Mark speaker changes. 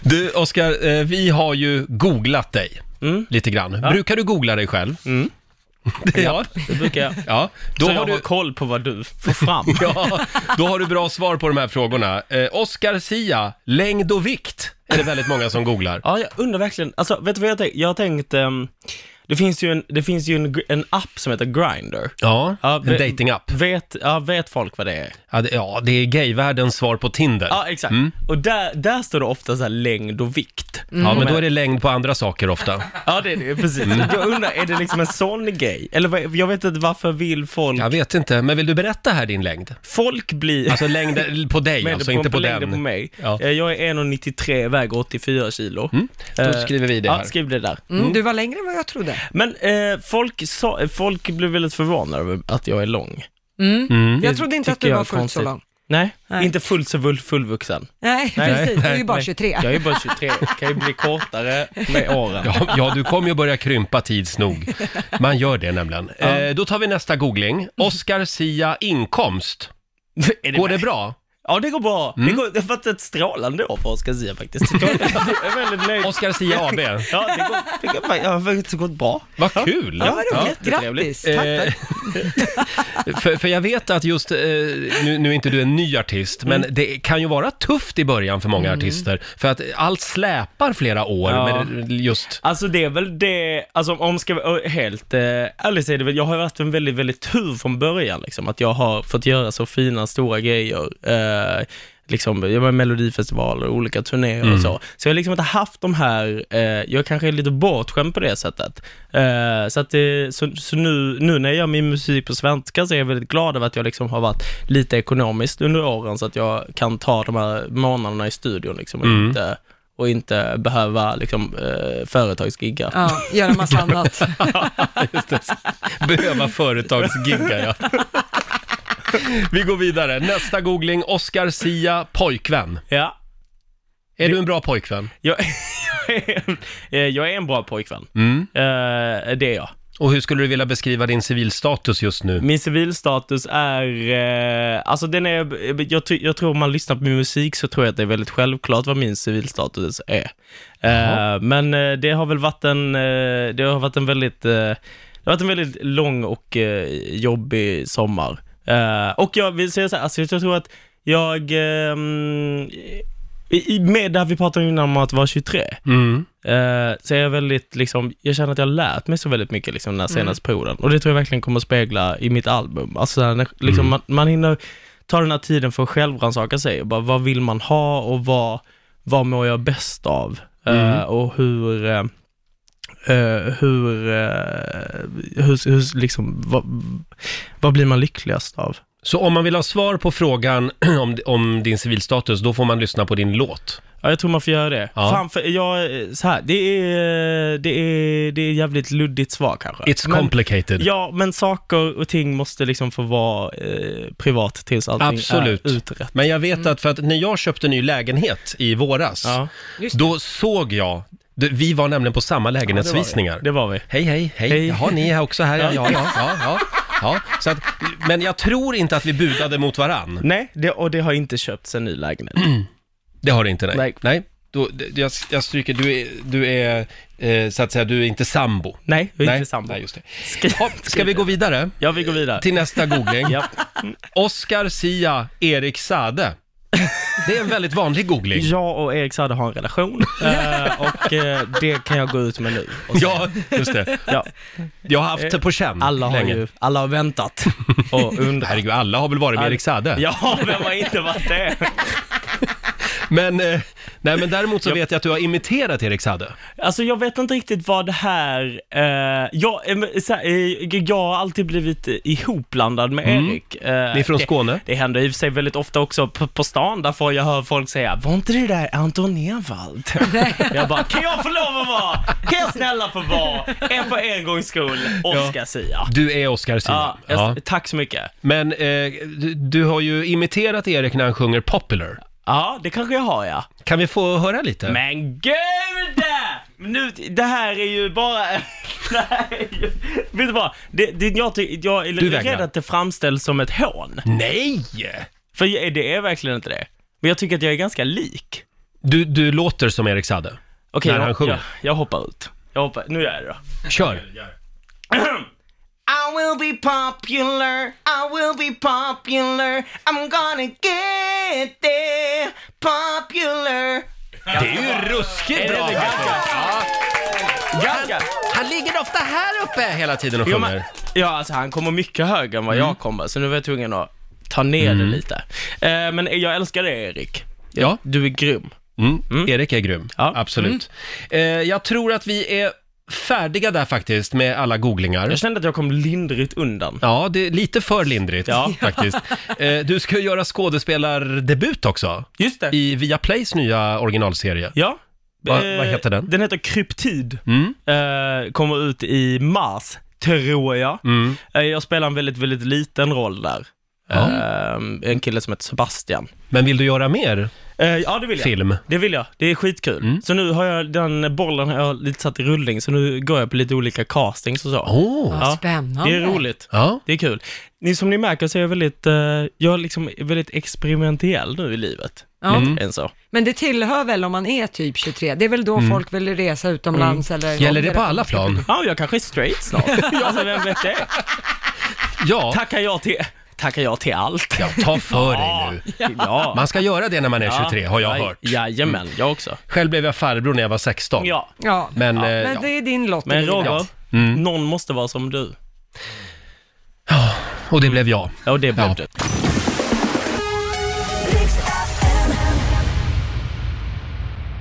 Speaker 1: Du, Oskar, eh, vi har ju googlat dig
Speaker 2: Mm.
Speaker 1: lite grann. Brukar du googla dig själv? Det, ja.
Speaker 2: Det brukar jag.
Speaker 1: ja. Då,
Speaker 2: Då Mm. så jag
Speaker 1: har
Speaker 2: har
Speaker 1: du,
Speaker 2: koll på vad du får fram.
Speaker 1: ja, då har du bra svar på de här frågorna. Eh, Oskar Sia, längd och vikt är det väldigt många som googlar.
Speaker 2: Ja, jag undrar verkligen. Alltså, vet du vad jag tänkt? Jag har tänkt, ehm, det finns ju en, det finns ju en, gr- en app som heter Grindr.
Speaker 1: Ja,
Speaker 2: Ja,
Speaker 1: en
Speaker 2: ve-
Speaker 1: datingapp.
Speaker 2: Vet, ja, mm. vet folk vad det är?
Speaker 1: Ja, det- ja, det är gayvärldens svar på Tinder.
Speaker 2: Ja, exakt. Och där, där står det ofta så här längd och vikt.
Speaker 1: Ja, men då är det längd på andra saker ofta.
Speaker 2: Ja, det är det precis. Jag undrar, är det liksom en sån grej? Eller vad- jag vet inte varför vill folk...
Speaker 1: Jag vet inte, men vill du berätta här din längd?
Speaker 2: Folk blir...
Speaker 1: Alltså längd på dig,
Speaker 2: Mängden
Speaker 1: alltså inte på
Speaker 2: längden
Speaker 1: den.
Speaker 2: på mig.
Speaker 1: Ja.
Speaker 2: Eh, Jag är 1,93, väger 84 kilo.
Speaker 1: Då
Speaker 2: Eh,
Speaker 1: skriver vi det här.
Speaker 2: Ja, skriv det där.
Speaker 3: Mm, du var längre än vad jag trodde.
Speaker 2: Men eh, folk, sa, eh, folk blev väldigt förvånade över att jag är lång.
Speaker 3: Jag trodde inte att
Speaker 2: tycker
Speaker 3: du
Speaker 2: jag
Speaker 3: var
Speaker 2: är
Speaker 3: fullt så
Speaker 2: konstigt.
Speaker 3: lång.
Speaker 2: Nej,
Speaker 3: Nej.
Speaker 2: inte fullt så full, fullvuxen.
Speaker 3: Nej,
Speaker 2: Nej,
Speaker 3: precis. Du är ju bara
Speaker 2: nej.
Speaker 3: 23.
Speaker 2: Jag är bara 23, kan ju bli kortare med åren.
Speaker 1: Ja, ja, du kommer ju börja krympa tids nog. Man gör det nämligen. Eh, då tar vi nästa googling. Oscar Sia inkomst.
Speaker 2: Är
Speaker 1: Går det bra?
Speaker 2: Ja, det går bra. Det, går, det har varit ett strålande år för Oscar Zia faktiskt. Mm. Jag är väldigt nöjd.
Speaker 1: Oscar Sia AB.
Speaker 2: Ja, det, går, det, går, det har faktiskt gått bra.
Speaker 1: Vad kul!
Speaker 3: Ja, vad roligt.
Speaker 2: jättetrevligt.
Speaker 3: Grattis. Tack, tack.
Speaker 1: Eh, för, för jag vet att just, eh, nu, nu är inte du en ny artist, men
Speaker 3: Mm.
Speaker 1: det kan ju vara tufft i början för många artister. För att allt släpar flera år
Speaker 2: Ja.
Speaker 1: med just...
Speaker 2: Alltså det är väl det, alltså om ska vara ö, helt eh, ärlig så är det väl, jag har ju haft en väldigt, väldigt tur från början liksom, att jag har fått göra så fina, stora grejer. Eh, liksom, jag var i melodifestivaler, olika turnéer och så. Så jag har liksom inte haft de här, eh, jag kanske är lite bortskämd på det sättet. Eh, så att det, så, så nu, nu när jag gör min musik på svenska så är jag väldigt glad över att jag liksom har varit lite ekonomiskt under åren så att jag kan ta de här månaderna i studion liksom och inte och inte behöva liksom, eh, företagsgigga.
Speaker 3: Ja, göra massa annat.
Speaker 1: Behöva företagsgigga, ja. Vi går vidare. Nästa googling, Oscar Sia pojkvän.
Speaker 2: Ja,
Speaker 1: Är du en bra pojkvän?
Speaker 2: jag, jag, är, en- eh, jag är en bra pojkvän.
Speaker 1: Mm.
Speaker 2: Eh, det är jag.
Speaker 1: Och hur skulle du vilja beskriva din civilstatus just nu?
Speaker 2: Min civilstatus är, eh, alltså den är, jag, ty- jag tror om man lyssnar på min musik så tror jag att det är väldigt självklart vad min civilstatus är. Eh, men eh, det har väl varit en, eh, det har varit en väldigt, eh, det har varit en väldigt lång och eh, jobbig sommar. Eh, och jag vill säga så här, alltså jag tror att jag, eh, mm, i, i- med det här vi pratade innan om att vara 23,
Speaker 1: Mm.
Speaker 2: Eh, så är jag väldigt, liksom, jag känner att jag har lärt mig så väldigt mycket liksom, den här senaste perioden. Och det tror jag verkligen kommer att spegla i mitt album. Alltså, så här, när, liksom,
Speaker 1: Mm.
Speaker 2: man, man hinner ta den här tiden för att självrannsaka sig. Och bara, vad vill man ha och vad, vad mår jag bäst av? Eh,
Speaker 1: Mm.
Speaker 2: och hur, eh, eh, hur, eh, hur, hur liksom, vad, vad blir man lyckligast av?
Speaker 1: Så om man vill ha svar på frågan om, om din civilstatus, då får man lyssna på din låt.
Speaker 2: Ja, jag tror man får göra det.
Speaker 1: Ja.
Speaker 2: Fan, för jag, så här, det är, det är, det är jävligt luddigt svar kanske.
Speaker 1: It's
Speaker 2: Men-
Speaker 1: complicated.
Speaker 2: Ja, men saker och ting måste liksom få vara eh, privat tills allting
Speaker 1: Absolut.
Speaker 2: är utrett.
Speaker 1: Men jag vet att för att när jag köpte ny lägenhet i våras,
Speaker 2: Ja,
Speaker 3: Just
Speaker 1: då såg jag, det- vi var nämligen på samma lägenhetsvisningar.
Speaker 2: det var vi.
Speaker 1: Hej, hej, hej.
Speaker 2: Hej.
Speaker 1: Jaha, ni är också här. Ja, ja, ja. ja, ja. ja. Så att, men jag tror inte att vi budade mot varann.
Speaker 2: Nej, det, och det har inte köpts en ny lägenhet.
Speaker 1: Mm. Det har det inte, nej.
Speaker 2: Nej.
Speaker 1: Nej, då, det- jag, jag stryker, du är, du är eh, så att säga, du är inte sambo.
Speaker 2: Nej, vi är
Speaker 1: nej,
Speaker 2: inte sambo.
Speaker 1: Nej, just det.
Speaker 2: Ska,
Speaker 1: Ja, ska vi gå vidare
Speaker 2: Ja, vi går vidare.
Speaker 1: till nästa googling?
Speaker 2: Ja.
Speaker 1: Oscar Sia Erik Sade. Det är en väldigt vanlig googling.
Speaker 2: Jag och Erik Saade har en relation eh, och eh, det kan jag gå ut med nu. Och så-
Speaker 1: Ja, just det.
Speaker 2: Ja,
Speaker 1: Jag har haft det på känn
Speaker 2: alla har
Speaker 1: länge.
Speaker 2: ju alla har väntat och undrat.
Speaker 1: Herregud, alla har väl varit med Erik Sade?
Speaker 2: Ja, vem har inte varit det?
Speaker 1: Men, eh, nej, men däremot så vet jag att du har imiterat Erik Sade.
Speaker 2: Alltså jag vet inte riktigt vad det här, eh, jag, eh, men så här, eh, jag har alltid blivit eh, ihopblandad med Erik. Eh,
Speaker 1: Ni Mm. är från Skåne?
Speaker 2: Det händer i och för sig väldigt ofta också på, på stan, där får jag höra folk säga Var inte det där Anton Ewald? jag bara, kan jag få lov att vara? Kan jag snälla få vara? En för en gångs skull, Oscar Sia.
Speaker 1: Du är Oscar Sia.
Speaker 2: Ja, jag,
Speaker 1: Ja.
Speaker 2: Tack så mycket.
Speaker 1: Men eh, du, du har ju imiterat Erik när han sjunger Popular.
Speaker 2: Ja, det kanske jag har ja.
Speaker 1: Kan vi få höra lite?
Speaker 2: Men gud! Men Nu, det här är ju bara... det här är ju, vet du vad? Det, det, jag, ty- jag är
Speaker 1: Du vägrar.
Speaker 2: rädd att det framställs som ett hån.
Speaker 1: Nej!
Speaker 2: För jag, det är verkligen inte det. Men jag tycker att jag är ganska lik.
Speaker 1: Du, du låter som Erik Sade.
Speaker 2: Okej,
Speaker 1: När han
Speaker 2: jag,
Speaker 1: sjunger.
Speaker 2: jag, jag hoppar ut. Jag hoppar, nu gör jag det då.
Speaker 1: Kör!
Speaker 2: I will be popular, I will be popular, I'm gonna get there, popular.
Speaker 1: Det är ju ruskigt bra
Speaker 2: Gagga?
Speaker 1: faktiskt.
Speaker 2: Gagga.
Speaker 1: Han ligger ofta här uppe hela tiden och
Speaker 2: Jo, men,
Speaker 1: sjunger. Mm.
Speaker 2: ja, alltså han kommer mycket högre än vad jag kommer, så nu var jag tvungen att ta ner det lite. Eh, men jag älskar dig Erik.
Speaker 1: Ja,
Speaker 2: Du är grym.
Speaker 1: mm. Erik är grym.
Speaker 2: Ja.
Speaker 1: Absolut. Eh, jag tror att vi är färdiga där faktiskt med alla googlingar.
Speaker 2: Jag kände att jag kom lindrigt undan.
Speaker 1: Ja, det är lite för lindrigt
Speaker 2: Ja.
Speaker 1: faktiskt. Eh, du ska ju göra skådespelardebut också
Speaker 2: Just det.
Speaker 1: i Viaplays nya originalserie.
Speaker 2: Ja.
Speaker 1: Va-
Speaker 2: Eh,
Speaker 1: vad heter den?
Speaker 2: Den heter Kryptid.
Speaker 1: Mm.
Speaker 2: Eh, kommer ut i mars, tror jag.
Speaker 1: Mm.
Speaker 2: Eh, jag spelar en väldigt, väldigt liten roll där.
Speaker 1: Ja.
Speaker 2: Eh, en kille som heter Sebastian.
Speaker 1: Men vill du göra mer
Speaker 2: Eh, ja, det vill jag.
Speaker 1: film? Mm.
Speaker 2: Det vill jag. Det är skitkul. Så nu har jag den bollen har jag lite satt i rullning, så nu går jag på lite olika castings och så.
Speaker 1: Åh!
Speaker 2: Ja.
Speaker 3: Spännande.
Speaker 2: Det är roligt.
Speaker 1: Ja.
Speaker 2: Det är kul. Ni, som ni märker så är jag väldigt, eh, jag är liksom väldigt experimentell nu i livet.
Speaker 3: Ja.
Speaker 1: Mm.
Speaker 2: Än så.
Speaker 3: Men det tillhör väl om man är typ 23, det är väl då folk vill resa utomlands eller...
Speaker 1: Gäller det på alla plan?
Speaker 2: Ja, jag kanske är straight snart. alltså, vem vet det?
Speaker 1: Ja.
Speaker 2: Tackar jag till, tackar jag till allt.
Speaker 1: ja, ta för dig nu.
Speaker 2: Ja.
Speaker 1: Man ska göra det när man är 23, har jag
Speaker 2: Ja,
Speaker 1: hört. Mm.
Speaker 2: Jajamän, jag också.
Speaker 1: Själv blev jag farbror när jag var 16.
Speaker 2: Ja.
Speaker 3: Ja, men,
Speaker 1: Men, eh,
Speaker 3: det är din lott. i
Speaker 2: Men
Speaker 3: livet.
Speaker 2: Roger,
Speaker 1: Mm.
Speaker 2: någon måste vara som du.
Speaker 1: Och det blev jag.
Speaker 2: Ja, och det blev
Speaker 1: Ja.
Speaker 2: du.